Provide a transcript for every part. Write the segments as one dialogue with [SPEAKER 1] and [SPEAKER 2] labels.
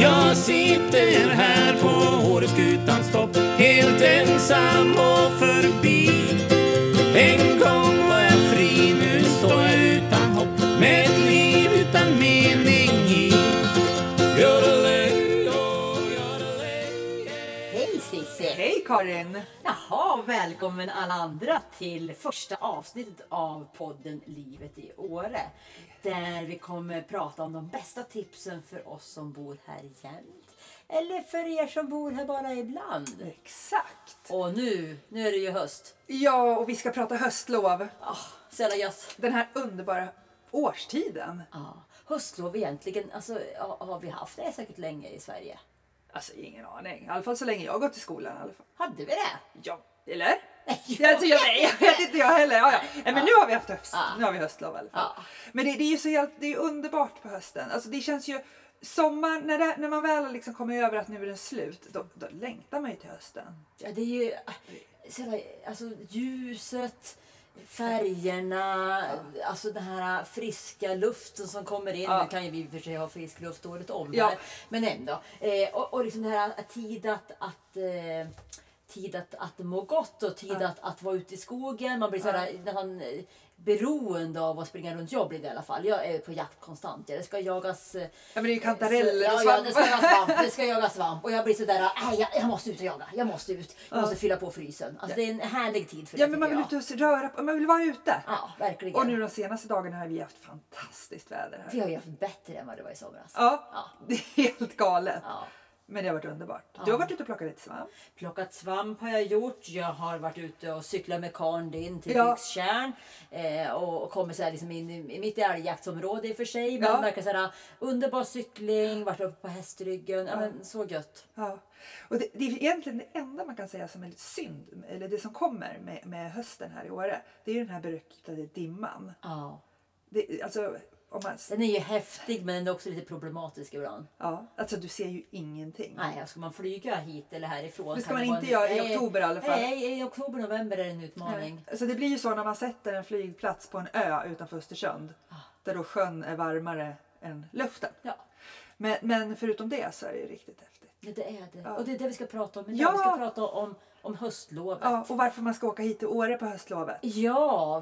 [SPEAKER 1] Jag sitter här på Åreskutans topp Helt ensam och förbi En gång var jag fri, nu står jag utan hopp Med ett liv utan mening i Yodelay, oh, yodelay, yeah.
[SPEAKER 2] Hej Cissi!
[SPEAKER 3] Hej Karin!
[SPEAKER 2] Jaha, välkommen alla andra till första avsnittet av podden Livet i Åre. Där vi kommer prata om de bästa tipsen för oss som bor här jämt. Eller för er som bor här bara ibland.
[SPEAKER 3] Exakt!
[SPEAKER 2] Och nu, nu är det ju höst.
[SPEAKER 3] Ja, och vi ska prata höstlov.
[SPEAKER 2] Oh, så jävla gött.
[SPEAKER 3] Den här underbara årstiden.
[SPEAKER 2] Ja, höstlov egentligen, alltså ja, har vi haft det säkert länge i Sverige?
[SPEAKER 3] Alltså ingen aning. I alla fall så länge jag har gått i skolan. I alla fall.
[SPEAKER 2] Hade vi det?
[SPEAKER 3] Ja, eller?
[SPEAKER 2] Nej,
[SPEAKER 3] Jag, alltså, jag, nej, jag vet inte jag heller. Ja, ja. Nej, men nu har vi haft höst.
[SPEAKER 2] Ja.
[SPEAKER 3] Nu har vi höstlov i alla fall.
[SPEAKER 2] Ja.
[SPEAKER 3] Men det, det är ju så helt, det är ju underbart på hösten. Alltså det känns ju Sommar, när, det, när man väl har liksom kommit över att nu är den slut, då, då längtar man ju till hösten.
[SPEAKER 2] Ja, det är ju ah, så jävla- alltså, ljuset, färgerna, alltså den här friska luften som kommer in.
[SPEAKER 3] Ja.
[SPEAKER 2] Nu kan ju vi i och för sig ha frisk luft året om
[SPEAKER 3] Ja.
[SPEAKER 2] här, men ändå. Eh, och, och liksom det här att tid att, att eh, tid att, att må gott och tid
[SPEAKER 3] Ja.
[SPEAKER 2] att, att vara ute i skogen. Man blir så här, nästan eh, beroende av att springa runt. Jag blir det i alla fall. Jag är på jakt konstant. Ja, Det ska jagas eh,
[SPEAKER 3] Ja men det är ju kantareller och
[SPEAKER 2] så- Ja, ja, det ska
[SPEAKER 3] svamp.
[SPEAKER 2] jaga svamp. Det ska jaga svamp. Och jag blir sådär, äh, jag, jag måste ut och jaga. Jag måste ut. Jag måste fylla på frysen. Alltså, det är en härlig tid för det.
[SPEAKER 3] Ja men man vill
[SPEAKER 2] tycker
[SPEAKER 3] ut och röra på, man vill vara ute.
[SPEAKER 2] jag. Ja, verkligen.
[SPEAKER 3] Och nu de senaste dagarna har vi haft fantastiskt väder här.
[SPEAKER 2] Vi har ju haft bättre än vad det var i somras.
[SPEAKER 3] Ja,
[SPEAKER 2] Ja.
[SPEAKER 3] det är helt galet.
[SPEAKER 2] Ja.
[SPEAKER 3] Men det har varit underbart. Du har varit ute och plockat lite svamp.
[SPEAKER 2] Plockat svamp har jag gjort. Jag har varit ute och cyklat med karln din till
[SPEAKER 3] Ja.
[SPEAKER 2] Dikstjärn. Eh, och och kommit så här liksom in i i mitt älgjaktsområde i och för sig. Men
[SPEAKER 3] Ja.
[SPEAKER 2] verkar så här, äh, underbar cykling, varit uppe på hästryggen. Ja, men så gött.
[SPEAKER 3] Ja. Och det, det är egentligen det enda man kan säga som är synd, eller det som kommer med, med hösten här i Åre, det är ju den här beryktade dimman.
[SPEAKER 2] Ja.
[SPEAKER 3] Det, alltså, om man,
[SPEAKER 2] Den är ju häftig men den är också lite problematisk ibland.
[SPEAKER 3] ja, alltså du ser ju ingenting.
[SPEAKER 2] Nej, alltså, ska man flyga hit eller härifrån?
[SPEAKER 3] Det ska
[SPEAKER 2] kan
[SPEAKER 3] man
[SPEAKER 2] vara
[SPEAKER 3] inte göra i oktober i alla fall.
[SPEAKER 2] Nej, i oktober, november är det en utmaning.
[SPEAKER 3] Alltså, det blir ju så när man sätter en flygplats på en ö utanför Östersund, där då sjön är varmare än luften.
[SPEAKER 2] Ja,
[SPEAKER 3] Men, men förutom det så är det ju riktigt häftigt.
[SPEAKER 2] det det är det.
[SPEAKER 3] Ja.
[SPEAKER 2] Och det är det vi ska prata om idag.
[SPEAKER 3] Ja!
[SPEAKER 2] Vi ska prata om, om höstlovet. Ja.
[SPEAKER 3] Ja, och varför man ska åka hit till Åre på höstlovet.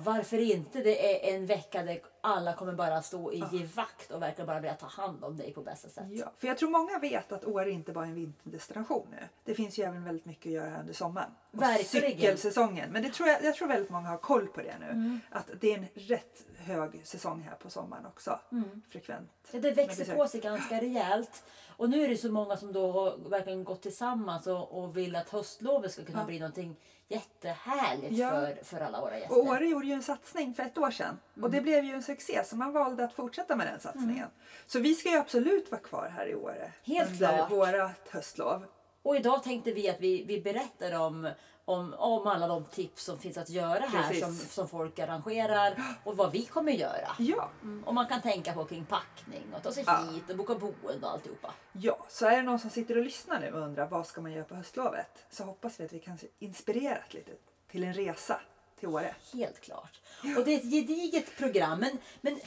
[SPEAKER 2] varför inte? Det är en vecka där alla kommer bara stå i givakt och verkar bara vilja ta hand om dig på bästa sätt.
[SPEAKER 3] Ja, för jag tror många vet att Åre inte bara är en vinterdestination nu. Det finns ju även väldigt mycket att göra här under sommaren. Och
[SPEAKER 2] Verkligen.
[SPEAKER 3] cykelsäsongen. Men det tror jag, jag tror väldigt många har koll på det nu.
[SPEAKER 2] Mm.
[SPEAKER 3] Att det är en rätt hög säsong här på sommaren också. Frekvent.
[SPEAKER 2] Mm. Ja, det växer
[SPEAKER 3] Men
[SPEAKER 2] på sig ganska rejält. Och nu är det så många som då har verkligen gått tillsammans och, och vill att höstlovet ska kunna bli någonting jättehärligt
[SPEAKER 3] Ja.
[SPEAKER 2] för, för alla våra gäster.
[SPEAKER 3] Och Åre gjorde ju en satsning för ett år sedan.
[SPEAKER 2] Mm.
[SPEAKER 3] Och det blev ju en succé så man valde att fortsätta med den satsningen. Så vi ska ju absolut vara kvar här i Åre.
[SPEAKER 2] Mm. Helt
[SPEAKER 3] under
[SPEAKER 2] klart.
[SPEAKER 3] vårat höstlov.
[SPEAKER 2] Och idag tänkte vi att vi, vi berättar om, om, om alla de tips som finns att göra här
[SPEAKER 3] Precis.
[SPEAKER 2] som, som folk arrangerar och vad vi kommer göra.
[SPEAKER 3] Ja.
[SPEAKER 2] Mm, Och man kan tänka på kring packning och ta sig
[SPEAKER 3] Ja.
[SPEAKER 2] hit och boka boende och alltihopa.
[SPEAKER 3] Ja, så är det någon som sitter och lyssnar nu och undrar vad ska man göra på höstlovet så hoppas vi att vi kanske inspirerat lite till en resa till Åre.
[SPEAKER 2] Helt klart. Och det är ett gediget program. Men, men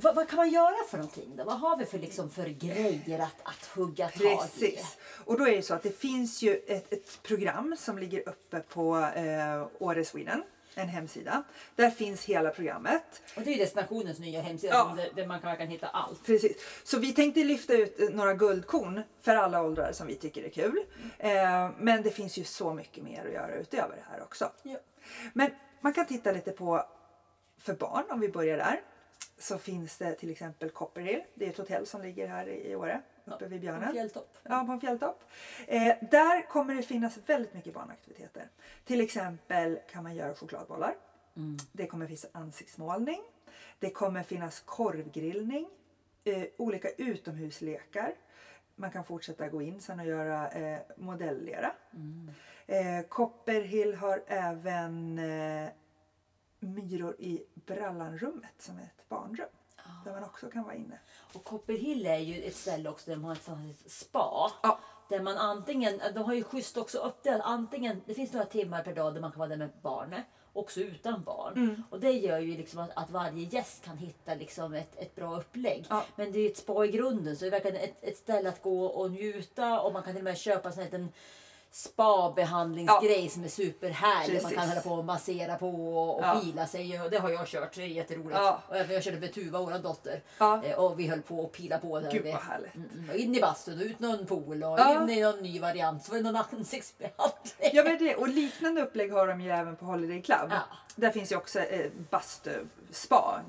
[SPEAKER 2] vad, vad kan man göra för någonting då? Vad har vi för, liksom, för grejer att, att hugga tag i?
[SPEAKER 3] Precis. Och då är det så att det finns ju ett, ett program som ligger uppe på eh, Åre Sweden, en hemsida. Där finns hela programmet.
[SPEAKER 2] Och det är ju destinationens nya hemsida
[SPEAKER 3] Ja.
[SPEAKER 2] som- där, där man kan, verkligen hitta allt.
[SPEAKER 3] Precis. Så vi tänkte lyfta ut eh, några guldkorn för alla åldrar som vi tycker är kul. Eh, men det finns ju så mycket mer att göra utöver det här också.
[SPEAKER 2] Ja.
[SPEAKER 3] Men man kan titta lite på för barn om vi börjar där. Så finns det till exempel Copperhill. Det är ett hotell som ligger här i i Åre, uppe vid
[SPEAKER 2] En
[SPEAKER 3] björnen.
[SPEAKER 2] fjälltopp.
[SPEAKER 3] Ja, på en fjälltopp. Eh, där kommer det finnas väldigt mycket barnaktiviteter. Till exempel kan man göra chokladbollar. Det kommer finnas ansiktsmålning. Det kommer finnas korvgrillning. Eh, olika utomhuslekar. Man kan fortsätta gå in sen och göra eh, modelllera. Eh, Copperhill har även eh, myror i Brallanrummet som är ett barnrum. Där man också kan vara inne.
[SPEAKER 2] Och Copperhill är ju ett ställe också där de har ett sånt här spa.
[SPEAKER 3] Ja.
[SPEAKER 2] Där man eh, antingen, de har ju schysst också uppdelat, antingen, det finns några timmar per dag där man kan vara där med barnet också utan barn.
[SPEAKER 3] Mm.
[SPEAKER 2] Och det gör ju liksom att, att varje gäst kan hitta liksom ett, ett bra upplägg.
[SPEAKER 3] Ja.
[SPEAKER 2] Men det är ju ett spa i grunden så det är verkligen ett, ett ställe att gå och njuta och man kan till och med köpa en sån här liten spa-behandlingsgrej som är superhärlig. Man kan
[SPEAKER 3] Precis.
[SPEAKER 2] hålla på och massera på och, och
[SPEAKER 3] Ja.
[SPEAKER 2] pila sig. Och det har jag kört, det är jätteroligt.
[SPEAKER 3] Ja.
[SPEAKER 2] Och jag, jag körde med Tuva, vår dotter.
[SPEAKER 3] Ja.
[SPEAKER 2] Eh, Och vi höll på och pila på. Där
[SPEAKER 3] Gud,
[SPEAKER 2] vi-
[SPEAKER 3] vad härligt.
[SPEAKER 2] Mm, mm. Och in i bastun och ut någon pool och
[SPEAKER 3] Ja.
[SPEAKER 2] in i någon ny variant. Så var det någon ansiktsbehandling.
[SPEAKER 3] Ja, men det, och liknande upplägg har de ju även på Holiday Club.
[SPEAKER 2] Ja.
[SPEAKER 3] Där finns ju också eh, bastuspa.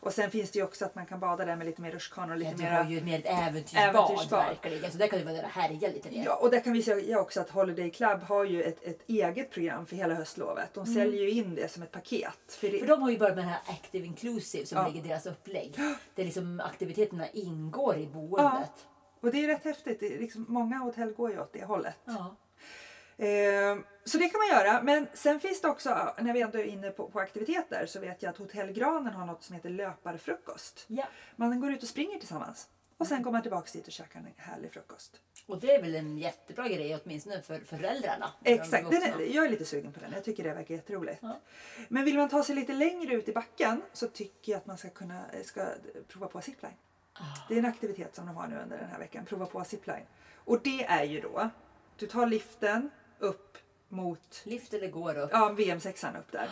[SPEAKER 3] Och sen finns det ju också att man kan bada där med lite mer rutschkana och
[SPEAKER 2] Ah. Ja, du
[SPEAKER 3] lite
[SPEAKER 2] har
[SPEAKER 3] mera...
[SPEAKER 2] ju mer ett äventyrsbad,
[SPEAKER 3] Äventyrsbad.
[SPEAKER 2] verkligen. Så där kan du vara där och härja lite mer.
[SPEAKER 3] Ja, och där kan vi säga också att Holiday Club har ju ett, ett eget program för hela höstlovet. De säljer ju in det som ett paket. För det,
[SPEAKER 2] Mm. För de har ju börjat med det här Active Inclusive som
[SPEAKER 3] Ja.
[SPEAKER 2] ligger i deras upplägg. Där liksom aktiviteterna ingår i boendet.
[SPEAKER 3] och det är rätt häftigt. Det är liksom, många hotell går ju åt det hållet.
[SPEAKER 2] Ja.
[SPEAKER 3] Eh, så det kan man göra. Men sen finns det också, när vi ändå är inne på, på aktiviteter, så vet jag att Hotell Granen har något som heter löparfrukost.
[SPEAKER 2] ja. Mm.
[SPEAKER 3] Man går ut och springer tillsammans. Och sen går man tillbaka dit och käkar en härlig frukost.
[SPEAKER 2] Och det är väl en jättebra grej åtminstone för föräldrarna. för de
[SPEAKER 3] Exakt, den
[SPEAKER 2] vuxna.
[SPEAKER 3] är, jag är lite sugen på den. Jag tycker det verkar jätteroligt.
[SPEAKER 2] Ja.
[SPEAKER 3] Men vill man ta sig lite längre ut i backen så tycker jag att man ska kunna eh, ska prova på zipline.
[SPEAKER 2] Ah.
[SPEAKER 3] Det är en aktivitet som de har nu under den här veckan. Prova på zipline. Och det är ju då, du tar liften upp mot
[SPEAKER 2] Lyft eller går upp.
[SPEAKER 3] ja, VM-sexan upp där.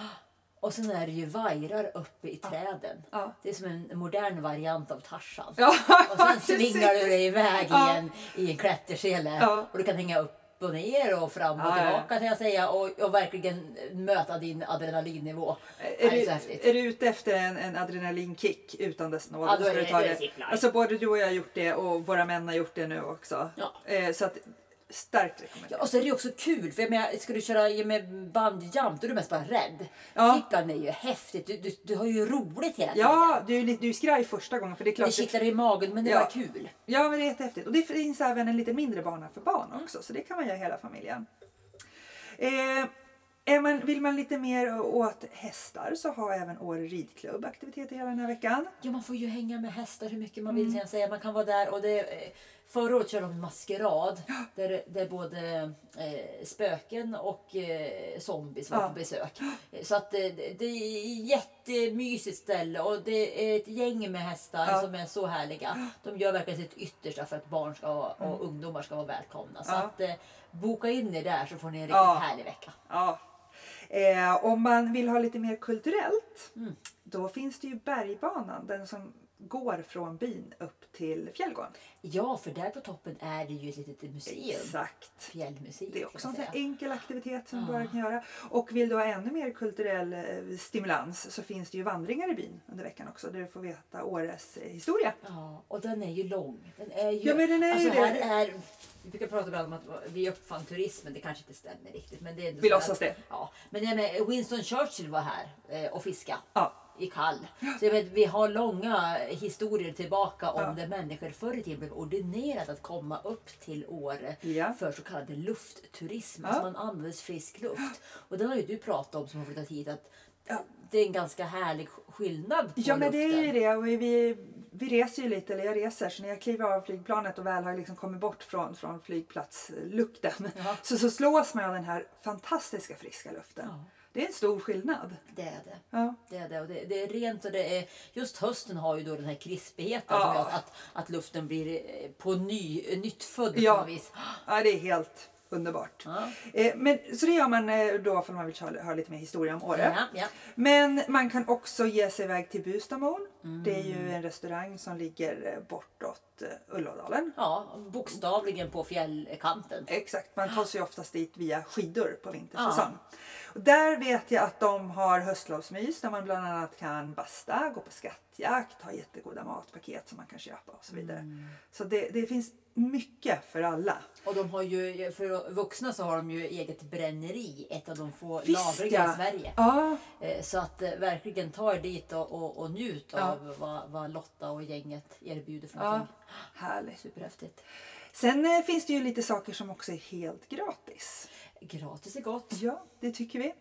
[SPEAKER 2] Och sen är det ju vajrar uppe i träden.
[SPEAKER 3] Ja.
[SPEAKER 2] Det är som en modern variant av Tarzan.
[SPEAKER 3] Ja,
[SPEAKER 2] Och sen
[SPEAKER 3] precis.
[SPEAKER 2] svingar du dig iväg
[SPEAKER 3] Ja.
[SPEAKER 2] i, en, i en klättersele.
[SPEAKER 3] Ja.
[SPEAKER 2] Och du kan hänga upp och ner och fram och
[SPEAKER 3] Ja, ja.
[SPEAKER 2] tillbaka kan jag säga. Och, och verkligen möta din adrenalinnivå. Det
[SPEAKER 3] Är
[SPEAKER 2] Eh, är så
[SPEAKER 3] du,
[SPEAKER 2] häftigt.
[SPEAKER 3] är du ute efter en, en adrenalinkick utan dess nåd
[SPEAKER 2] Ja,
[SPEAKER 3] så
[SPEAKER 2] då
[SPEAKER 3] ska
[SPEAKER 2] är
[SPEAKER 3] du
[SPEAKER 2] det-
[SPEAKER 3] ta
[SPEAKER 2] då är det
[SPEAKER 3] det.
[SPEAKER 2] zipline.
[SPEAKER 3] Alltså både du och jag har gjort det och våra män har gjort det nu också.
[SPEAKER 2] Ja.
[SPEAKER 3] Eh, så att, starkt rekommenderat.
[SPEAKER 2] Ja, eh, och så är det ju också kul, för jag menar, ska du köra i med bungyjump då är du mest bara rädd.
[SPEAKER 3] Ja.
[SPEAKER 2] Zipline är ju häftigt, du, du, du har ju roligt hela tiden.
[SPEAKER 3] Ja, du är, lite, du är skraj första gången för det är klart.
[SPEAKER 2] Det kittlar i magen men det är
[SPEAKER 3] Ja.
[SPEAKER 2] bara kul.
[SPEAKER 3] Ja, men det är jättehäftigt. Och det finns även en lite mindre bana för barn också, så det kan man göra hela familjen. Eh, är man, vill man lite mer åt hästar så har även Åre ridklubb aktiviteter hela den här veckan.
[SPEAKER 2] Ja, man får ju hänga med hästar hur mycket man vill.
[SPEAKER 3] Mm.
[SPEAKER 2] kan Jag säga. Man kan vara där och det, eh, förra året körde de en maskerad där, där både eh, spöken och eh, zombies var
[SPEAKER 3] Ja.
[SPEAKER 2] på besök. Eh, Så att eh, det, det är ett jättemysigt ställe och det är ett gäng med hästar
[SPEAKER 3] Ja.
[SPEAKER 2] som är så härliga. De gör verkligen sitt yttersta för att barn ska, och ungdomar ska vara välkomna. Så
[SPEAKER 3] Mm. Ja.
[SPEAKER 2] att, eh, boka in er där så får ni en riktigt
[SPEAKER 3] Ja.
[SPEAKER 2] härlig vecka.
[SPEAKER 3] Ja. Eh, om man vill ha lite mer kulturellt
[SPEAKER 2] Mm.
[SPEAKER 3] då finns det ju bergbanan, den som går från byn upp till Fjällgården.
[SPEAKER 2] Ja, för där på toppen är det ju ett litet museum.
[SPEAKER 3] Exakt.
[SPEAKER 2] Fjällmuseum.
[SPEAKER 3] Det är
[SPEAKER 2] kan
[SPEAKER 3] också
[SPEAKER 2] man
[SPEAKER 3] en sån
[SPEAKER 2] säga.
[SPEAKER 3] här enkel aktivitet som bara kan göra. Och vill du ha ännu mer kulturell eh, stimulans så finns det ju vandringar i byn under veckan också där du får veta Åres eh, historia.
[SPEAKER 2] Ja, och den är ju lång. Den är ju,
[SPEAKER 3] Ja, men den är
[SPEAKER 2] alltså
[SPEAKER 3] ju
[SPEAKER 2] här
[SPEAKER 3] det.
[SPEAKER 2] är, vi brukar prata ibland om att vi uppfann turismen, det kanske inte stämmer riktigt. Men det är ändå
[SPEAKER 3] Vi
[SPEAKER 2] så
[SPEAKER 3] låtsas
[SPEAKER 2] att-
[SPEAKER 3] det.
[SPEAKER 2] Ja, men jag menar, Winston Churchill var här eh, och fiska
[SPEAKER 3] Ja.
[SPEAKER 2] i kall. Så jag vet, vi har långa historier tillbaka om
[SPEAKER 3] Ja.
[SPEAKER 2] där människor förr i tiden blev ordinerat att komma upp till Åre
[SPEAKER 3] Ja.
[SPEAKER 2] för så kallad luftturism.
[SPEAKER 3] Ja.
[SPEAKER 2] Alltså man användes frisk luft. Och den har ju du pratat om som har flyttat hit att det är en ganska härlig skillnad på
[SPEAKER 3] Ja men det är ju
[SPEAKER 2] luften.
[SPEAKER 3] det. Och vi, vi, vi reser ju lite, eller jag reser, så när jag kliver av flygplanet och väl har liksom kommit bort från, från flygplatslukten
[SPEAKER 2] Ja.
[SPEAKER 3] så, så slås man av den här fantastiska friska luften.
[SPEAKER 2] Ja.
[SPEAKER 3] Det är en stor skillnad.
[SPEAKER 2] Det är det.
[SPEAKER 3] Ja.
[SPEAKER 2] Det är det. Och det, det är rent och det är, just hösten har ju då den här krispigheten som
[SPEAKER 3] Ja.
[SPEAKER 2] gör att, att luften blir eh, på ny, eh, nyttfödd
[SPEAKER 3] Ja.
[SPEAKER 2] på något vis.
[SPEAKER 3] Ja, det är helt underbart.
[SPEAKER 2] Ja.
[SPEAKER 3] Eh, Men, så det gör man eh, då om man vill ha- höra lite mer historia om Åre.
[SPEAKER 2] Ja, ja.
[SPEAKER 3] Men man kan också ge sig iväg till Bustamon.
[SPEAKER 2] Mm.
[SPEAKER 3] Det är ju en restaurang som ligger eh, bortåt eh, Ullådalen.
[SPEAKER 2] ja, bokstavligen på fjällkanten.
[SPEAKER 3] Exakt, man tar sig oftast dit via skidor på vintersäsong. Och där vet jag att de har höstlovsmys där man bland annat kan basta, gå på skattjakt, ha jättegoda matpaket som man kan köpa och så vidare. Så det, det finns mycket för alla.
[SPEAKER 2] Och de har ju, för vuxna så har de ju eget bränneri, ett av de få
[SPEAKER 3] Visst,
[SPEAKER 2] lagliga
[SPEAKER 3] ja.
[SPEAKER 2] i Sverige.
[SPEAKER 3] Ja,
[SPEAKER 2] Eh, Så att eh, verkligen ta er dit och, och, och njut
[SPEAKER 3] Ja.
[SPEAKER 2] av vad, vad Lotta och gänget erbjuder för
[SPEAKER 3] ja.
[SPEAKER 2] någonting.
[SPEAKER 3] härligt.
[SPEAKER 2] Superhäftigt.
[SPEAKER 3] Sen eh, finns det ju lite saker som också är helt gratis.
[SPEAKER 2] Gratis är gott.
[SPEAKER 3] Ja, det tycker vi.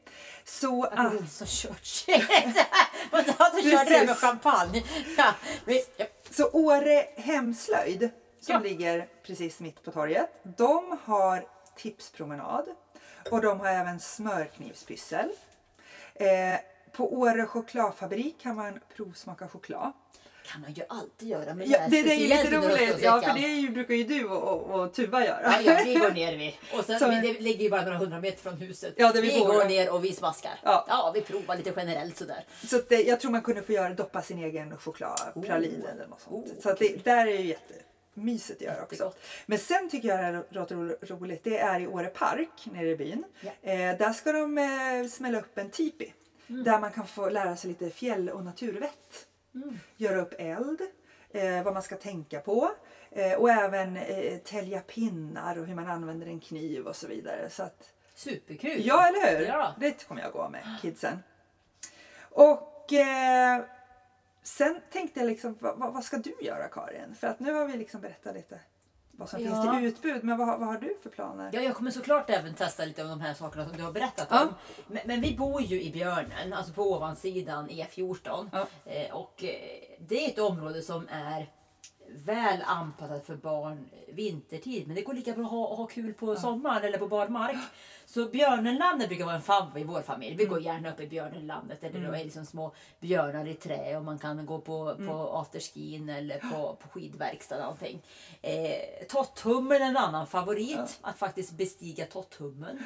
[SPEAKER 3] Så
[SPEAKER 2] Ah.
[SPEAKER 3] att
[SPEAKER 2] Winston Churchill. Men han som körde det här med
[SPEAKER 3] Precis.
[SPEAKER 2] champagne. Ja. vi- ja.
[SPEAKER 3] Så Åre Hemslöjd som
[SPEAKER 2] Ja.
[SPEAKER 3] ligger precis mitt på torget. De har tipspromenad och de har även smörknivspyssel. Eh, på Åre chokladfabrik kan man provsmaka choklad.
[SPEAKER 2] kan man ju alltid göra. Men
[SPEAKER 3] Ja, det, det är ju lite
[SPEAKER 2] speciellt under
[SPEAKER 3] roligt, ja, för
[SPEAKER 2] höstlovsveckan.
[SPEAKER 3] det är ju, brukar ju du och, och, och Tuva göra.
[SPEAKER 2] Ja, ja, vi går ner vi. Och sen,
[SPEAKER 3] Så-
[SPEAKER 2] men det ligger ju bara några hundra meter från huset.
[SPEAKER 3] Ja, det vi
[SPEAKER 2] vi
[SPEAKER 3] går.
[SPEAKER 2] går ner och vi smaskar.
[SPEAKER 3] Ja.
[SPEAKER 2] vi provar lite generellt sådär.
[SPEAKER 3] Så att det, jag tror man kunde få göra, doppa sin egen chokladpralin
[SPEAKER 2] Oh.
[SPEAKER 3] eller något sånt.
[SPEAKER 2] Oh,
[SPEAKER 3] så att det, där är ju jättemysigt att göra också.
[SPEAKER 2] Jättegott.
[SPEAKER 3] Men sen tycker jag det här låter ro- roligt. Det är i Åre park nere i byn.
[SPEAKER 2] Ja. Mm.
[SPEAKER 3] Eh, där ska de eh, smälla upp en tipi. Där man kan få lära sig lite fjäll och naturvett.
[SPEAKER 2] Mm.
[SPEAKER 3] Göra upp eld. Eh, vad man ska tänka på. Eh, och även eh, tälja pinnar och hur man använder en kniv och så vidare. Så att,
[SPEAKER 2] Superkul!
[SPEAKER 3] Ja, eller hur?
[SPEAKER 2] Ja.
[SPEAKER 3] Det kommer jag gå med kidsen. Och eh, sen tänkte jag liksom, vad, vad vad ska du göra Karin? För att nu har vi liksom berättat lite vad som
[SPEAKER 2] Ja.
[SPEAKER 3] finns i utbud. Men vad, har- vad har du för planer?
[SPEAKER 2] Ja, jag kommer såklart även testa lite av de här sakerna som du har berättat
[SPEAKER 3] Ja.
[SPEAKER 2] om. Men, men vi bor ju i Björnen, alltså på ovansidan E E14.
[SPEAKER 3] Ja.
[SPEAKER 2] Eh, och eh, det är ett område som är väl anpassat för barn eh, vintertid. Men det går lika bra att ha, ha kul på sommaren eller på barmark. Så Björnenlandet brukar vara en favvo i vår familj.
[SPEAKER 3] Mm.
[SPEAKER 2] Vi går gärna upp i Björnenlandet där det då är liksom små björnar i trä och man kan gå på,
[SPEAKER 3] Mm.
[SPEAKER 2] på afterskin eller på, på skidverkstad eller någonting. Eh, Totthummen är en annan favorit. Att faktiskt bestiga Totthummen.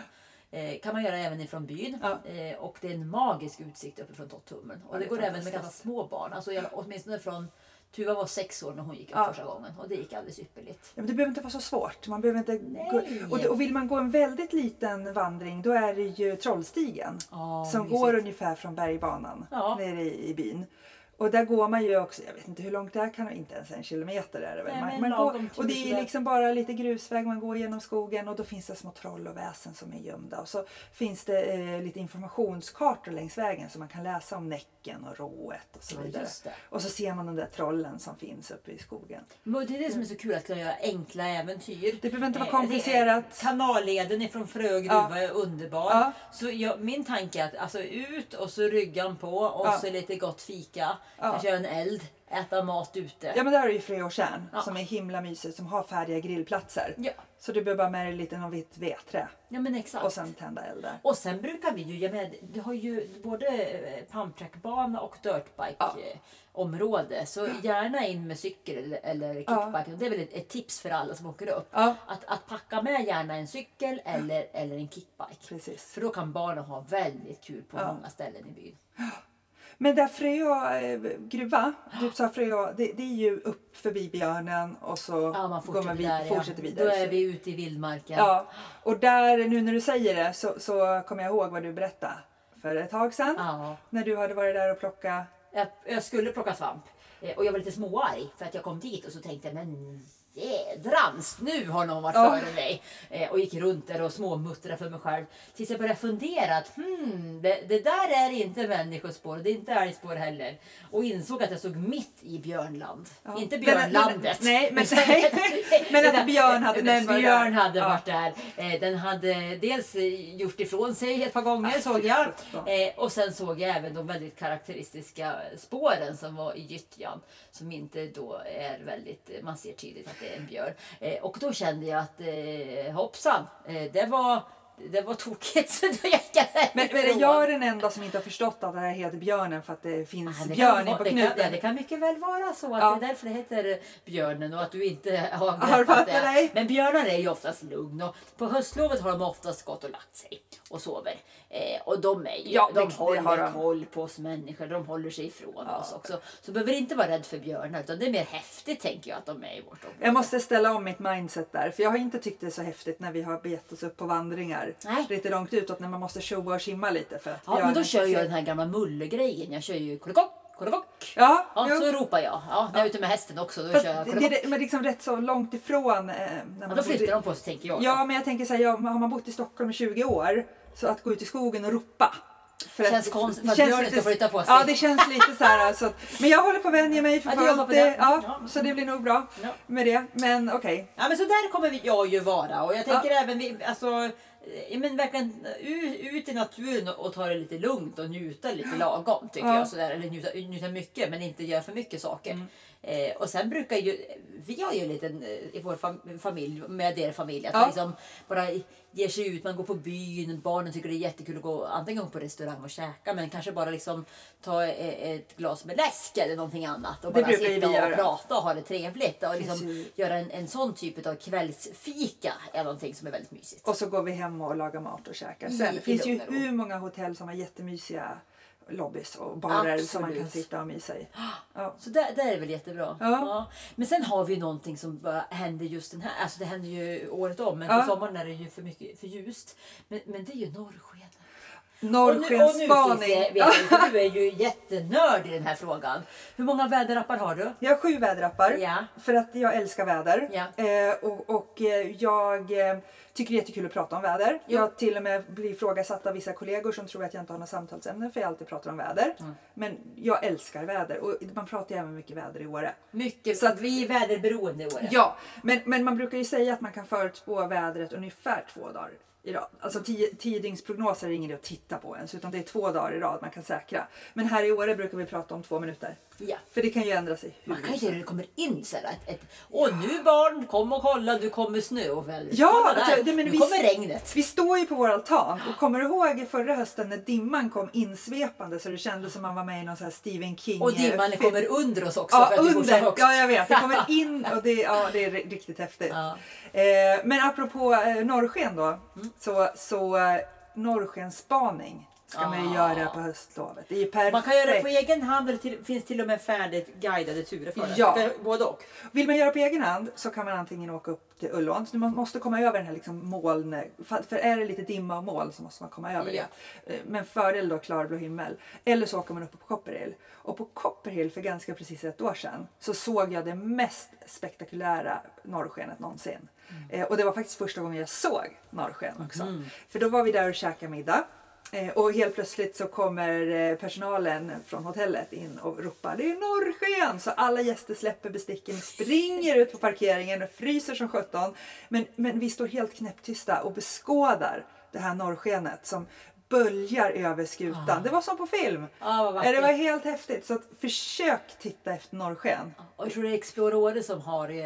[SPEAKER 2] Eh, kan man göra även ifrån byn.
[SPEAKER 3] Ja.
[SPEAKER 2] Eh, och det är en magisk utsikt uppifrån Totthummen. Och det,
[SPEAKER 3] Ja, det är
[SPEAKER 2] går även med
[SPEAKER 3] fantastiskt.
[SPEAKER 2] ganska små barn. Alltså jag, åtminstone från Tuva var sex år när hon gick upp
[SPEAKER 3] Ja.
[SPEAKER 2] första gången och det gick alldeles ypperligt.
[SPEAKER 3] Ja, men det behöver inte vara så svårt. Man behöver inte
[SPEAKER 2] Nej.
[SPEAKER 3] gå, och, det- och vill man gå en väldigt liten vandring då är det ju Trollstigen.
[SPEAKER 2] Ja,
[SPEAKER 3] som
[SPEAKER 2] mysigt.
[SPEAKER 3] går ungefär från bergbanan
[SPEAKER 2] Ja.
[SPEAKER 3] nere i, i byn. Och där går man ju också, jag vet inte hur långt det är, kan inte ens en kilometer är det väl.
[SPEAKER 2] Nej,
[SPEAKER 3] man,
[SPEAKER 2] men
[SPEAKER 3] man
[SPEAKER 2] lagom
[SPEAKER 3] går,
[SPEAKER 2] tur
[SPEAKER 3] och det
[SPEAKER 2] sådär.
[SPEAKER 3] är liksom bara lite grusväg, man går genom skogen och då finns det små troll och väsen som är gömda. Och så finns det eh, lite informationskartor längs vägen så man kan läsa om Näcken och Rået och så
[SPEAKER 2] Ja,
[SPEAKER 3] vidare.
[SPEAKER 2] just det.
[SPEAKER 3] och så ser man de där trollen som finns uppe i skogen.
[SPEAKER 2] Men det är det som är så kul att kunna göra enkla äventyr.
[SPEAKER 3] Det behöver inte vara
[SPEAKER 2] Eh, det är-
[SPEAKER 3] komplicerat.
[SPEAKER 2] Kanalleden ifrån Frögruva är underbar.
[SPEAKER 3] Ja.
[SPEAKER 2] Så jag, min tanke är att alltså, ut och så ryggan på och
[SPEAKER 3] Ja.
[SPEAKER 2] så lite gott fika.
[SPEAKER 3] Ja.
[SPEAKER 2] Kanske göra en eld, äta mat ute.
[SPEAKER 3] Ja men där har du ju Fröåtjärn
[SPEAKER 2] Ja.
[SPEAKER 3] som är himla mysigt som har färdiga grillplatser.
[SPEAKER 2] Ja.
[SPEAKER 3] Så du behöver bara med dig lite någon vitt vedträ
[SPEAKER 2] Ja, men exakt.
[SPEAKER 3] och sen tända eld där.
[SPEAKER 2] Och sen brukar vi ju, jag menar, du har ju både eh, pumptrackbana och
[SPEAKER 3] Ja.
[SPEAKER 2] dirtbike-område. Så gärna in med cykel eller, eller kickbike. Det är väl ett, ett tips för alla som åker upp.
[SPEAKER 3] Ja.
[SPEAKER 2] Att, att packa med gärna en cykel eller, eller en kickbike.
[SPEAKER 3] Precis.
[SPEAKER 2] För då kan barnen ha väldigt kul på många ställen i byn.
[SPEAKER 3] Men där Fröja eh, gruva, du sa Fröja, det, det är ju upp förbi björnen och så
[SPEAKER 2] Ja, man
[SPEAKER 3] går
[SPEAKER 2] fortsätter,
[SPEAKER 3] man vid,
[SPEAKER 2] där, ja.
[SPEAKER 3] fortsätter vidare.
[SPEAKER 2] Då är
[SPEAKER 3] Så-
[SPEAKER 2] vi ute i vildmarken.
[SPEAKER 3] ja. Och där, nu när du säger det så, så kommer jag ihåg vad du berättade för ett tag sedan.
[SPEAKER 2] Ja.
[SPEAKER 3] När du hade varit där och plockat.
[SPEAKER 2] Jag, jag skulle plocka svamp eh, och jag var lite småarg för att jag kom dit och så tänkte jag men jädrans nu har någon varit
[SPEAKER 3] Ja.
[SPEAKER 2] före mig. Eh, Och gick runt där och småmuttrade för mig själv. Tills jag började fundera att hmm, det, det där är inte människospår och det är inte älgspår heller. Och insåg att jag stod mitt i björnland.
[SPEAKER 3] Ja.
[SPEAKER 2] Inte
[SPEAKER 3] Men- men-
[SPEAKER 2] björnlandet.
[SPEAKER 3] nej, men-
[SPEAKER 2] Utan-
[SPEAKER 3] nej. Men att
[SPEAKER 2] utan-
[SPEAKER 3] björn hade
[SPEAKER 2] men
[SPEAKER 3] nyss varit
[SPEAKER 2] björn
[SPEAKER 3] där.
[SPEAKER 2] hade
[SPEAKER 3] Ja.
[SPEAKER 2] varit där. Eh, Den hade dels eh, gjort ifrån sig ett par gånger såg jag.
[SPEAKER 3] Äh, sjutton.
[SPEAKER 2] Eh, och sen såg jag även de väldigt karaktäristiska spåren som var i gyttjan. Som inte då är väldigt, man ser tydligt att det är en björn. Eh, och då kände jag att eh, hoppsan, eh, det var det var tokigt så då gick jag
[SPEAKER 3] Men, men är
[SPEAKER 2] därifrån.
[SPEAKER 3] jag den enda som inte har förstått att det här heter björnen för att det finns
[SPEAKER 2] Ah, det kan
[SPEAKER 3] björn
[SPEAKER 2] vara-
[SPEAKER 3] på
[SPEAKER 2] det kan-
[SPEAKER 3] knuten?
[SPEAKER 2] ja, Det kan mycket väl vara så att
[SPEAKER 3] Ja.
[SPEAKER 2] det är därför det heter björnen och att du inte har
[SPEAKER 3] Har
[SPEAKER 2] greppat
[SPEAKER 3] fattat
[SPEAKER 2] det.
[SPEAKER 3] dig?
[SPEAKER 2] Men björnar är ju oftast lugn och på höstlovet har de oftast gått och lagt sig och sover. Eh, och de är ju,
[SPEAKER 3] Ja,
[SPEAKER 2] de
[SPEAKER 3] det- det
[SPEAKER 2] håller
[SPEAKER 3] har de.
[SPEAKER 2] koll på oss människor, de håller sig ifrån oss också. Så du behöver inte vara rädd för björnar utan det är mer häftigt tänker jag att de är i vårt område.
[SPEAKER 3] Jag måste ställa om mitt mindset där, för jag har inte tyckt det är så häftigt när vi har begett oss upp på vandringar
[SPEAKER 2] Nej.
[SPEAKER 3] lite långt utåt när man måste tjoa och simma lite för att
[SPEAKER 2] Ja, men då
[SPEAKER 3] björnen-
[SPEAKER 2] kör jag den här gamla mullegrejen. Jag kör ju kollegock, kollegock.
[SPEAKER 3] Ja,
[SPEAKER 2] Ja,
[SPEAKER 3] jo.
[SPEAKER 2] så ropar jag. Ja, när jag är ute med hästen också då
[SPEAKER 3] Fast
[SPEAKER 2] kör jag
[SPEAKER 3] det, det,
[SPEAKER 2] kollegock.
[SPEAKER 3] det- men liksom rätt så långt ifrån. Eh, när man
[SPEAKER 2] Ja, då
[SPEAKER 3] bodde-
[SPEAKER 2] flyttar de på sig tänker jag. då.
[SPEAKER 3] Ja, men jag tänker så här, ja, har man bott i Stockholm i 20 år, så att gå ut i skogen och ropa. för
[SPEAKER 2] Känns konstigt att
[SPEAKER 3] känns
[SPEAKER 2] björnen
[SPEAKER 3] lite-
[SPEAKER 2] ska flytta på sig.
[SPEAKER 3] Ja, det känns lite så här. Alltså, att- men jag håller på att vänja mig för
[SPEAKER 2] Ja, du jobbar
[SPEAKER 3] fullt.
[SPEAKER 2] på det.
[SPEAKER 3] Ja,
[SPEAKER 2] Ja.
[SPEAKER 3] så det blir nog bra
[SPEAKER 2] Ja.
[SPEAKER 3] med det. Men okej.
[SPEAKER 2] Ja men så där kommer vi- jag ju vara och jag tänker även vi, alltså, eh, men verkligen ut, ut i naturen och, och ta det lite lugnt och njuta lite lagom tycker
[SPEAKER 3] Ja. Mm.
[SPEAKER 2] jag. Sådär. Eller njuta, njuta mycket men inte göra för mycket saker. Eh, och sen brukar ju, vi har ju en liten eh, i vår fam- familj, med er familj, att
[SPEAKER 3] Ja.
[SPEAKER 2] man liksom bara ger sig ut, man går på byn, barnen tycker det är jättekul att gå antingen på restaurang och käka men kanske bara liksom ta eh, ett glas med läsk eller någonting annat och
[SPEAKER 3] Det
[SPEAKER 2] bara
[SPEAKER 3] brukar ju
[SPEAKER 2] sitta och
[SPEAKER 3] vi göra.
[SPEAKER 2] prata och ha det trevligt och liksom
[SPEAKER 3] Precis.
[SPEAKER 2] göra en, en sån typ av kvällsfika är någonting som är väldigt mysigt.
[SPEAKER 3] Och så går vi hem och lagar mat och käkar.
[SPEAKER 2] I-
[SPEAKER 3] Sen,
[SPEAKER 2] Mm, i
[SPEAKER 3] det finns ju
[SPEAKER 2] lugn och ro.
[SPEAKER 3] hur många hotell som har jättemysiga lobbys och barer som man kan
[SPEAKER 2] Absolut.
[SPEAKER 3] sitta och mysa i. Ja.
[SPEAKER 2] Så där, där är det väl jättebra.
[SPEAKER 3] Ja.
[SPEAKER 2] Men sen har vi ju någonting som bara händer just den här, alltså det händer ju året om men
[SPEAKER 3] Ja.
[SPEAKER 2] på sommaren är det ju för, mycket, för ljust. Men, men det är ju norrsken. Och nu, och nu Cissi,
[SPEAKER 3] Norrskensspaning.
[SPEAKER 2] vet jag, du är ju jättenörd i den här frågan. Hur många väderappar har du?
[SPEAKER 3] Jag har sju väderappar
[SPEAKER 2] Ja.
[SPEAKER 3] för att jag älskar väder.
[SPEAKER 2] Ja.
[SPEAKER 3] Eh, och och eh, jag eh, tycker det är jättekul att prata om väder.
[SPEAKER 2] Jo.
[SPEAKER 3] Jag till och med blir ifrågasatt av vissa kollegor som tror att jag inte har något samtalsämne för jag alltid pratar om väder.
[SPEAKER 2] Mm.
[SPEAKER 3] Men jag älskar väder och man pratar ju även mycket väder i Åre.
[SPEAKER 2] Mycket.
[SPEAKER 3] Så
[SPEAKER 2] Så
[SPEAKER 3] att-
[SPEAKER 2] att vi är väderberoende i år.
[SPEAKER 3] Ja, men, men man brukar ju säga att man kan förutspå vädret ungefär två dagar i rad. Alltså tio, tio dygnsprognoser är ingen idé att titta på ens utan det är två dagar i rad man kan säkra. Men här i Åre brukar vi prata om två minuter.
[SPEAKER 2] Ja.
[SPEAKER 3] För det kan ju ändra sig hur
[SPEAKER 2] Man kanske det kommer in så här att ett, och nu barn, kom och kolla, nu kommer snö och vädret.
[SPEAKER 3] Ja,
[SPEAKER 2] Kolla där.
[SPEAKER 3] alltså, det- men
[SPEAKER 2] nu
[SPEAKER 3] vi-
[SPEAKER 2] kommer regnet.
[SPEAKER 3] Vi står ju på vår altan och kommer du ihåg förra hösten när dimman kom insvepande så det kändes som man var med i någon sån här Stephen King.
[SPEAKER 2] Och
[SPEAKER 3] eh,
[SPEAKER 2] dimman
[SPEAKER 3] film.
[SPEAKER 2] kommer under oss också
[SPEAKER 3] Ja,
[SPEAKER 2] för att vi bor så
[SPEAKER 3] under.
[SPEAKER 2] högt.
[SPEAKER 3] Ja, jag vet. Det kommer in och det, ja, det är ri- riktigt häftigt.
[SPEAKER 2] Ja. Mm.
[SPEAKER 3] Eh, men apropå eh, norrsken då. Så, så eh, norrskenspaning ska man ju
[SPEAKER 2] Ah.
[SPEAKER 3] göra på höstlovet. Det är ju perfekt.
[SPEAKER 2] Man kan göra det på egen hand och det till, finns till och med färdigt guidade turer för det.
[SPEAKER 3] Ja.
[SPEAKER 2] För Både och.
[SPEAKER 3] Vill man göra på egen hand så kan man antingen åka upp till Ullån. Så man måste komma över den här liksom moln... För för är det lite dimma och moln så måste man komma över
[SPEAKER 2] Ja.
[SPEAKER 3] det. Eh, Men fördel då klarblå himmel. Eller så åker man upp på Copperhill. Och på Copperhill för ganska precis ett år sedan så såg jag det mest spektakulära norrskenet någonsin. Eh, Och det var faktiskt första gången jag såg norrsken också. För då var vi där och käkade middag. Eh, Och helt plötsligt så kommer eh, personalen från hotellet in och ropar det är norrsken! Så alla gäster släpper besticken, springer ut på parkeringen och fryser som sjutton. Men, men vi står helt knäpptysta och beskådar det här norrskenet som böljar över skutan. Det var som på film.
[SPEAKER 2] Ja, Ah. vad
[SPEAKER 3] Eh,
[SPEAKER 2] vackert.
[SPEAKER 3] det var helt häftigt. Så att, försök titta efter norrsken.
[SPEAKER 2] Och jag tror det är Explore Åre som har, eh,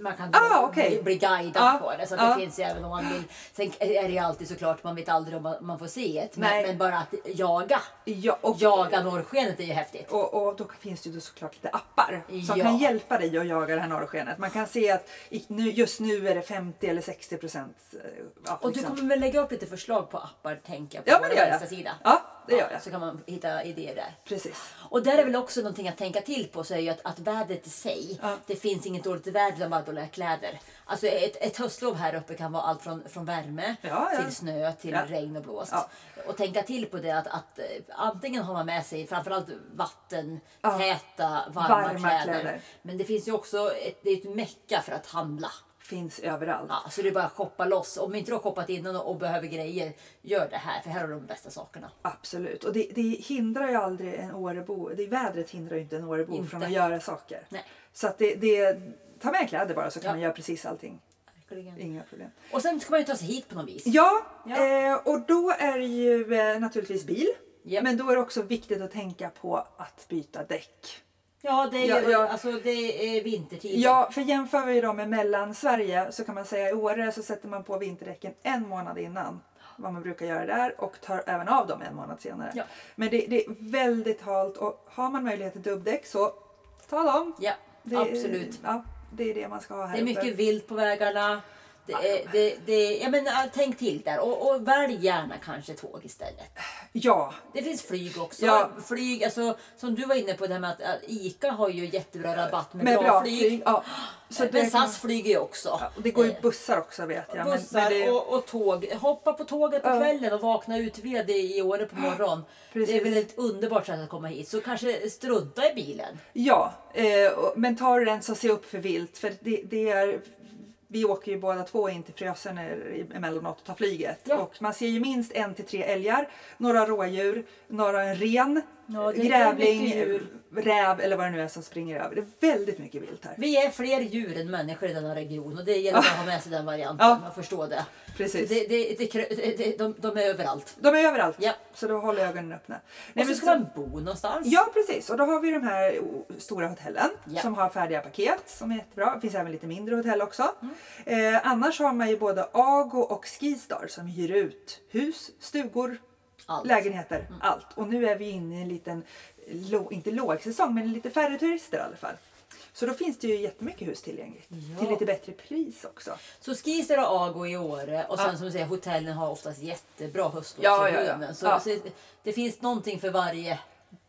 [SPEAKER 2] man kan
[SPEAKER 3] Ah,
[SPEAKER 2] gå-
[SPEAKER 3] okej. Ah,
[SPEAKER 2] bli guidad
[SPEAKER 3] Ja,
[SPEAKER 2] på det. Så att
[SPEAKER 3] ja.
[SPEAKER 2] det finns ju även om man vill. Sen är det ju alltid såklart, man vet aldrig om man, man får se det. Men,
[SPEAKER 3] Nej.
[SPEAKER 2] men bara att jaga.
[SPEAKER 3] Ja, och,
[SPEAKER 2] Jaga norrskenet är ju häftigt.
[SPEAKER 3] Och, och då finns det ju då såklart lite appar som
[SPEAKER 2] Ja.
[SPEAKER 3] kan hjälpa dig att jaga det här norrskenet. Man kan se att i- nu, just nu är det 50 eller 60 procent. Ja,
[SPEAKER 2] Och du
[SPEAKER 3] liksom.
[SPEAKER 2] kommer väl lägga upp lite förslag på appar tänker jag på
[SPEAKER 3] ja men det
[SPEAKER 2] vår
[SPEAKER 3] gör jag.
[SPEAKER 2] Insta-sida.
[SPEAKER 3] Ja, det gör jag.
[SPEAKER 2] Så kan man hitta idéer där.
[SPEAKER 3] Precis.
[SPEAKER 2] Och där är väl också någonting att tänka till på så är ju att, att vädret i sig.
[SPEAKER 3] Ja.
[SPEAKER 2] Det finns inget dåligt väder utan bara dåliga kläder. Alltså ett, ett höstlov här uppe kan vara allt från, från värme
[SPEAKER 3] Ja, ja.
[SPEAKER 2] till snö till
[SPEAKER 3] Ja.
[SPEAKER 2] regn och blåst.
[SPEAKER 3] Ja.
[SPEAKER 2] Och tänka till på det att, att eh, antingen har man med sig framförallt vatten, täta, varma,
[SPEAKER 3] Varma
[SPEAKER 2] kläder.
[SPEAKER 3] kläder.
[SPEAKER 2] Men det finns ju också ett, det är ett mecka för att handla.
[SPEAKER 3] Finns överallt.
[SPEAKER 2] Ja, så det är bara att shoppa loss. Om inte du har shoppat innan och och behöver grejer, gör det här. För här har du de bästa sakerna.
[SPEAKER 3] Absolut. Och det, det hindrar ju aldrig en Årebo. Det, vädret hindrar ju inte en Årebo
[SPEAKER 2] Inte.
[SPEAKER 3] från att göra saker.
[SPEAKER 2] Nej.
[SPEAKER 3] Så att det, det, ta med kläder bara så kan
[SPEAKER 2] Ja.
[SPEAKER 3] man göra precis allting.
[SPEAKER 2] Verkligen.
[SPEAKER 3] Inga problem.
[SPEAKER 2] Och sen ska man ju ta sig hit på något vis.
[SPEAKER 3] Ja,
[SPEAKER 2] Ja.
[SPEAKER 3] Eh, och då är det ju eh, naturligtvis bil.
[SPEAKER 2] Japp.
[SPEAKER 3] Men då är det också viktigt att tänka på att byta däck.
[SPEAKER 2] Ja, det är,
[SPEAKER 3] Ja,
[SPEAKER 2] ju-
[SPEAKER 3] ja.
[SPEAKER 2] Alltså, det är vintertid.
[SPEAKER 3] Ja, för jämför vi dem med Mellansverige så kan man säga i Åre så sätter man på vinterdäcken en månad innan vad man brukar göra där och tar även av dem en månad senare.
[SPEAKER 2] Ja.
[SPEAKER 3] Men det, det är väldigt halt och har man möjlighet till dubbdäck så ta dem.
[SPEAKER 2] Ja,
[SPEAKER 3] Det,
[SPEAKER 2] absolut.
[SPEAKER 3] Ja, det är det man ska ha här
[SPEAKER 2] Det är
[SPEAKER 3] uppe.
[SPEAKER 2] mycket vilt på vägarna. Det är, det, det, jag menar, tänk till där och, och välj gärna kanske tåg istället.
[SPEAKER 3] Ja,
[SPEAKER 2] Det finns flyg också.
[SPEAKER 3] Ja.
[SPEAKER 2] Flyg, alltså, som du var inne på, det här med att, att ICA har ju jättebra rabatt med,
[SPEAKER 3] med
[SPEAKER 2] bra,
[SPEAKER 3] bra
[SPEAKER 2] flyg.
[SPEAKER 3] Ja. Så det,
[SPEAKER 2] men
[SPEAKER 3] kan-
[SPEAKER 2] SAS flyger ju också.
[SPEAKER 3] ja, det går ju
[SPEAKER 2] Eh,
[SPEAKER 3] bussar också vet jag. men-
[SPEAKER 2] bussar
[SPEAKER 3] men det,
[SPEAKER 2] och, och tåg. Hoppa på tåget på kvällen och vakna utved i Åre på morgonen. Det
[SPEAKER 3] Precis.
[SPEAKER 2] är väl ett underbart sätt att komma hit. Så kanske strunta i bilen.
[SPEAKER 3] Ja, eh, och- men tar du den så se upp för vilt. För det, det är, vi åker ju båda två in till Frösön er- emellanåt och tar flyget.
[SPEAKER 2] Ja.
[SPEAKER 3] Och man ser ju minst en till tre älgar, några rådjur, några en ren.
[SPEAKER 2] Ja, det är
[SPEAKER 3] grävling,
[SPEAKER 2] mycket djur.
[SPEAKER 3] räv eller vad det nu är som springer över. Det är väldigt mycket vilt här.
[SPEAKER 2] Vi är fler djur än människor i denna region och det gäller att ha med sig den varianten.
[SPEAKER 3] Ja.
[SPEAKER 2] Man förstår det.
[SPEAKER 3] Precis.
[SPEAKER 2] Det, det, det, krö- det, det, de, de är överallt.
[SPEAKER 3] De är överallt,
[SPEAKER 2] Ja.
[SPEAKER 3] så då håller jag ögonen öppna.
[SPEAKER 2] och så ska man bo någonstans.
[SPEAKER 3] Ja, precis. Och då har vi de här o- stora hotellen
[SPEAKER 2] Ja.
[SPEAKER 3] som har färdiga paket som är jättebra. Det finns även lite mindre hotell också.
[SPEAKER 2] Mm.
[SPEAKER 3] Eh, annars har man ju både Ago och Skistar som hyr ut hus, stugor,
[SPEAKER 2] Allt. Mm.
[SPEAKER 3] lägenheter, allt. Och nu är vi inne i en liten, lå- inte lågsäsong, men lite färre turister i alla fall. Så då finns det ju jättemycket hus tillgängligt. Till lite bättre pris också.
[SPEAKER 2] Så Skistar och Ago i Åre och sen
[SPEAKER 3] Ja.
[SPEAKER 2] som du säger hotellen har oftast jättebra
[SPEAKER 3] Ja,
[SPEAKER 2] höstlovsområden.
[SPEAKER 3] ja, ja.
[SPEAKER 2] Så,
[SPEAKER 3] Ja.
[SPEAKER 2] så det finns någonting för varje eh,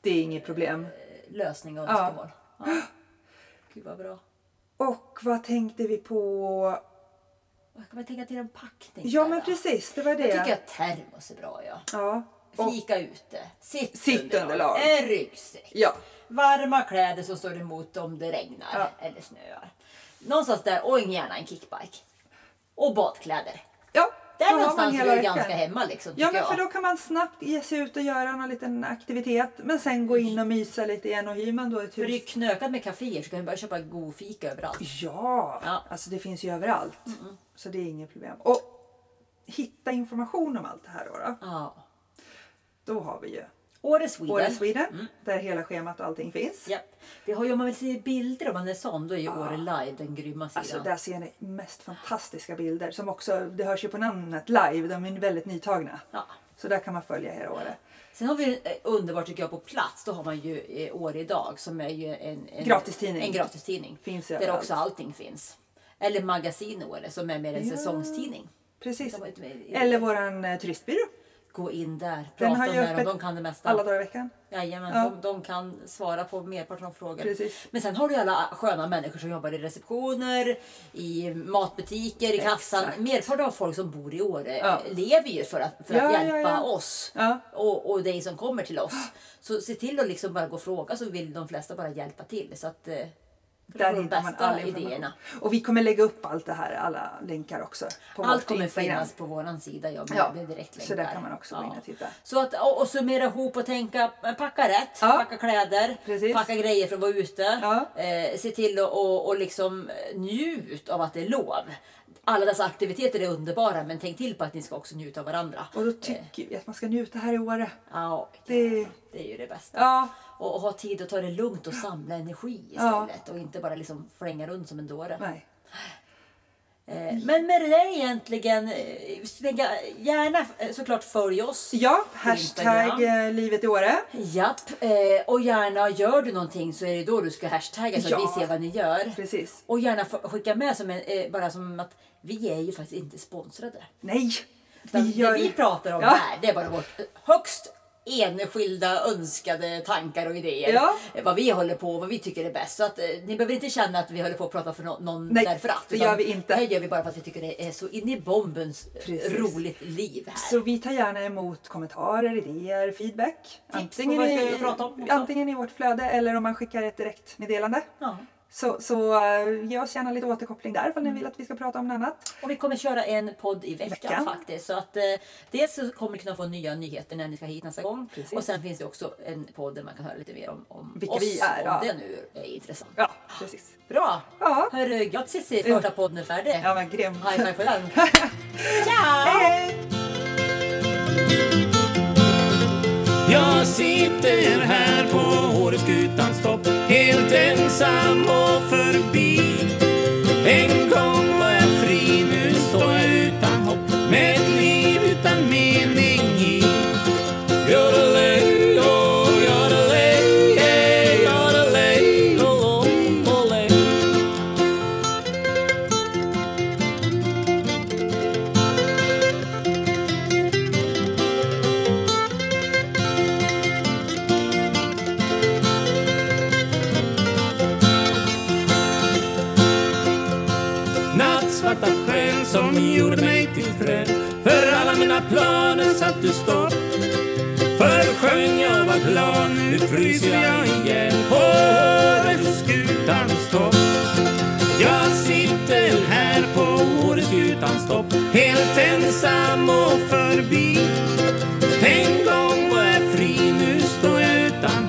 [SPEAKER 3] Det är inget problem.
[SPEAKER 2] lösning och
[SPEAKER 3] Ja.
[SPEAKER 2] önskemål. Ja. Gud vad bra.
[SPEAKER 3] Och vad tänkte vi på?
[SPEAKER 2] Och Jag kommer tänka till en packning.
[SPEAKER 3] Ja
[SPEAKER 2] där,
[SPEAKER 3] men
[SPEAKER 2] va?
[SPEAKER 3] precis, det var det.
[SPEAKER 2] Jag tycker att termos är bra. Ja.
[SPEAKER 3] Ja. Och,
[SPEAKER 2] Fika ute. Sitt,
[SPEAKER 3] Sittunderlag.
[SPEAKER 2] En ryggsäck.
[SPEAKER 3] ja.
[SPEAKER 2] Varma kläder som står emot om det regnar
[SPEAKER 3] Ja.
[SPEAKER 2] eller snöar. Någonstans där och gärna en kickbike. Och badkläder.
[SPEAKER 3] Ja,
[SPEAKER 2] Där
[SPEAKER 3] då har man
[SPEAKER 2] någonstans är
[SPEAKER 3] hela
[SPEAKER 2] jag
[SPEAKER 3] veckan.
[SPEAKER 2] ganska hemma liksom.
[SPEAKER 3] Ja,
[SPEAKER 2] tycker
[SPEAKER 3] men för
[SPEAKER 2] jag.
[SPEAKER 3] då kan man snabbt ge sig ut och göra någon liten aktivitet. Men sen gå in och mysa lite igen och hyr man då ett
[SPEAKER 2] För det är ju
[SPEAKER 3] hus.
[SPEAKER 2] knökat med kaféer så kan du bara köpa god fika överallt.
[SPEAKER 3] Ja,
[SPEAKER 2] Ja.
[SPEAKER 3] alltså det finns ju överallt. Så det är inget problem. Och hitta information om allt det här då. Då,
[SPEAKER 2] Ja.
[SPEAKER 3] då har vi ju
[SPEAKER 2] Åre Sweden.
[SPEAKER 3] Åre Sweden där hela schemat och allting finns.
[SPEAKER 2] Mm. Ja. Vi har ju, om man vill se bilder om man är sån, då är ju Åre Live den grymma sidan.
[SPEAKER 3] Ah. Alltså, där ser ni mest fantastiska bilder som också, det hörs ju på namnet, live. De är väldigt nytagna.
[SPEAKER 2] Ja.
[SPEAKER 3] Så där kan man följa hela året.
[SPEAKER 2] Sen har vi eh, underbart tycker jag på plats. Då har man ju eh, Åre idag som är ju en, en
[SPEAKER 3] Gratistidning.
[SPEAKER 2] En gratistidning.
[SPEAKER 3] Finns
[SPEAKER 2] där
[SPEAKER 3] överallt.
[SPEAKER 2] också allting finns. Eller Magasin Åre som är mer en säsongstidning.
[SPEAKER 3] Precis.
[SPEAKER 2] De har ju inte-
[SPEAKER 3] Eller våran eh, turistbyrå.
[SPEAKER 2] Gå in där,
[SPEAKER 3] Den
[SPEAKER 2] prata
[SPEAKER 3] har
[SPEAKER 2] med
[SPEAKER 3] ju
[SPEAKER 2] dem.
[SPEAKER 3] öppet
[SPEAKER 2] De kan det mesta.
[SPEAKER 3] Alla dagar i veckan.
[SPEAKER 2] Jajamän,
[SPEAKER 3] Ja.
[SPEAKER 2] de, de kan svara på merparten av frågor.
[SPEAKER 3] Precis.
[SPEAKER 2] Men sen har du ju alla sköna människor som jobbar i receptioner, i matbutiker, i kassan.
[SPEAKER 3] Exakt.
[SPEAKER 2] Merparten av folk som bor i Åre
[SPEAKER 3] Ja.
[SPEAKER 2] lever ju för att, för
[SPEAKER 3] Ja,
[SPEAKER 2] att
[SPEAKER 3] ja,
[SPEAKER 2] hjälpa
[SPEAKER 3] ja.
[SPEAKER 2] oss
[SPEAKER 3] Ja.
[SPEAKER 2] och, och dig som kommer till oss. Så se till att liksom bara gå och fråga så vill de flesta bara hjälpa till. Så att, eh, för att
[SPEAKER 3] Där
[SPEAKER 2] få de
[SPEAKER 3] hittar man
[SPEAKER 2] bästa
[SPEAKER 3] all information.
[SPEAKER 2] idéerna.
[SPEAKER 3] Och vi kommer lägga upp allt det här, alla länkar också. På
[SPEAKER 2] Allt
[SPEAKER 3] vårt
[SPEAKER 2] kommer
[SPEAKER 3] Instagram.
[SPEAKER 2] finnas på våran sida. Ja, med,
[SPEAKER 3] Ja,
[SPEAKER 2] med direktlänkar.
[SPEAKER 3] så där kan man också gå in och titta.
[SPEAKER 2] Så att, och, och summera ihop och tänka, eh, packa rätt,
[SPEAKER 3] Ja.
[SPEAKER 2] packa kläder,
[SPEAKER 3] Precis.
[SPEAKER 2] packa grejer för att vara ute.
[SPEAKER 3] Ja.
[SPEAKER 2] Eh, se till att och, och liksom eh, njut av att det är lov. Alla dessa aktiviteter är underbara men tänk till på att ni ska också njuta av varandra.
[SPEAKER 3] Och då tycker vi att man ska njuta här i Åre.
[SPEAKER 2] Ja,
[SPEAKER 3] Det-
[SPEAKER 2] det är ju det bästa.
[SPEAKER 3] Ja,
[SPEAKER 2] Och, och ha tid att ta det lugnt och samla energi istället och inte bara liksom flänga runt som en dåre.
[SPEAKER 3] nej.
[SPEAKER 2] Eh, Men med det där egentligen, eh, lägga- gärna eh, såklart följ oss.
[SPEAKER 3] Ja, hashtag eh, livet i Åre.
[SPEAKER 2] Japp, eh, och gärna gör du någonting så är det då du ska hashtagga så
[SPEAKER 3] Ja.
[SPEAKER 2] att vi ser vad ni gör.
[SPEAKER 3] Precis.
[SPEAKER 2] Och gärna få- skicka med som en, eh, bara som att vi är ju faktiskt inte sponsrade.
[SPEAKER 3] Nej!
[SPEAKER 2] Utan
[SPEAKER 3] Vi gör...
[SPEAKER 2] Det vi pratar om
[SPEAKER 3] Ja.
[SPEAKER 2] här, det är bara vårt högst enskilda önskade tankar och idéer.
[SPEAKER 3] Ja.
[SPEAKER 2] Eh, Vad vi håller på och vad vi tycker är bäst. Så att eh, ni behöver inte känna att vi håller på att prata för nå- någon
[SPEAKER 3] Nej,
[SPEAKER 2] därför att.
[SPEAKER 3] det
[SPEAKER 2] utan
[SPEAKER 3] gör vi inte.
[SPEAKER 2] Det här gör vi bara för att vi tycker det är så in i bombens eh,
[SPEAKER 3] Precis.
[SPEAKER 2] roligt liv här.
[SPEAKER 3] Så vi tar gärna emot kommentarer, idéer, feedback.
[SPEAKER 2] på vad vi ska prata om också.
[SPEAKER 3] antingen i vårt flöde eller om man skickar ett direktmeddelande.
[SPEAKER 2] Ja. Mm.
[SPEAKER 3] Så, så eh, ge oss gärna lite återkoppling där om ni vill att vi ska prata om något annat.
[SPEAKER 2] Och vi kommer köra en podd i veckan,
[SPEAKER 3] Veckan.
[SPEAKER 2] faktiskt. Så att eh, dels så kommer ni kunna få nya nyheter när ni ska hit nästa gång.
[SPEAKER 3] Precis.
[SPEAKER 2] Och sen finns det också en podd där man kan höra lite mer om, om
[SPEAKER 3] Vilka
[SPEAKER 2] oss.
[SPEAKER 3] vi är,
[SPEAKER 2] om
[SPEAKER 3] ja.
[SPEAKER 2] det nu är intressant.
[SPEAKER 3] Ja, precis.
[SPEAKER 2] Bra!
[SPEAKER 3] Ja.
[SPEAKER 2] Hörru, grattis till första podden är färdig.
[SPEAKER 3] Ja, men grymt.
[SPEAKER 2] High five på den.
[SPEAKER 3] Hej,
[SPEAKER 2] Ciao!
[SPEAKER 3] hej!
[SPEAKER 1] Jag sitter här på Åreskutans topp Helt ensam och förbi En gång var jag fri, nu står jag utan hopp Med ett liv utan mening i Yodelay, oh, yodelay, yeah, yodelay, oh, oh, olay. Nattsvarta sken som gjorde mig till träd För alla mina planer satt du stopp För sjöng jag var glad, nu fryser jag igen På Åreskutans topp Jag sitter här på Åreskutans topp Helt ensam och förbi En gång var jag fri, nu står jag utan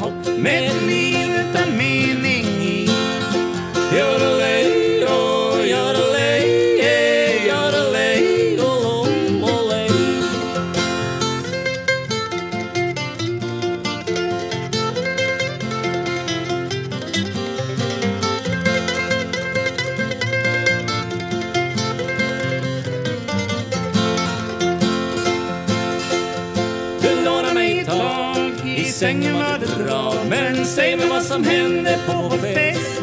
[SPEAKER 1] sängen var det bra Men säg mig vad som hände på vår fest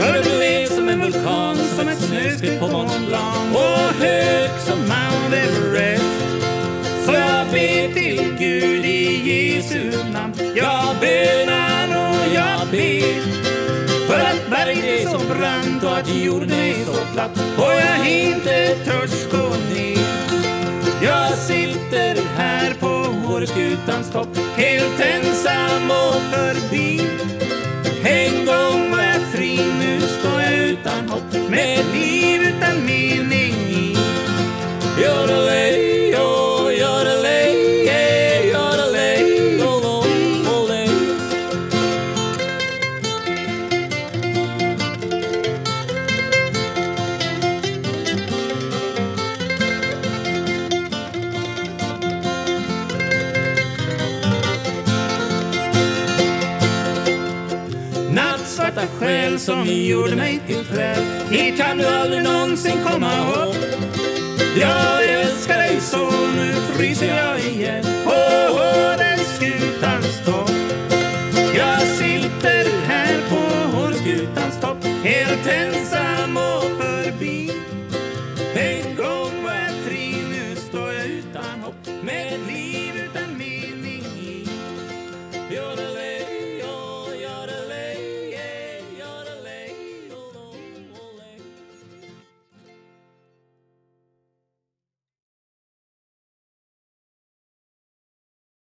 [SPEAKER 1] Hörde blev som en vulkan Som ett snöskred på Mont Blanc Och hög som Mount Everest Så jag ber till Gud i Jesu namn Jag bönar och jag ber för att berget är så brant och att jorden är så platt och jag inte törs gå ner. Jag sitter här på Åreskutans topp helt ensam och förbi. En gång var jag fri, nu står jag utan hopp med ett liv utan mening i. Yodelej, yo, yodelej, yeah, yodelej, lo, lo, lo, lej. Nattsvarta själ som gjorde mig till träd Hit kan du aldrig någonsin komma upp Jag älskar dig så, nu fryser jag igen På Åreskutans topp Jag sitter här på Åreskutans topp Helt ensam oh, oh,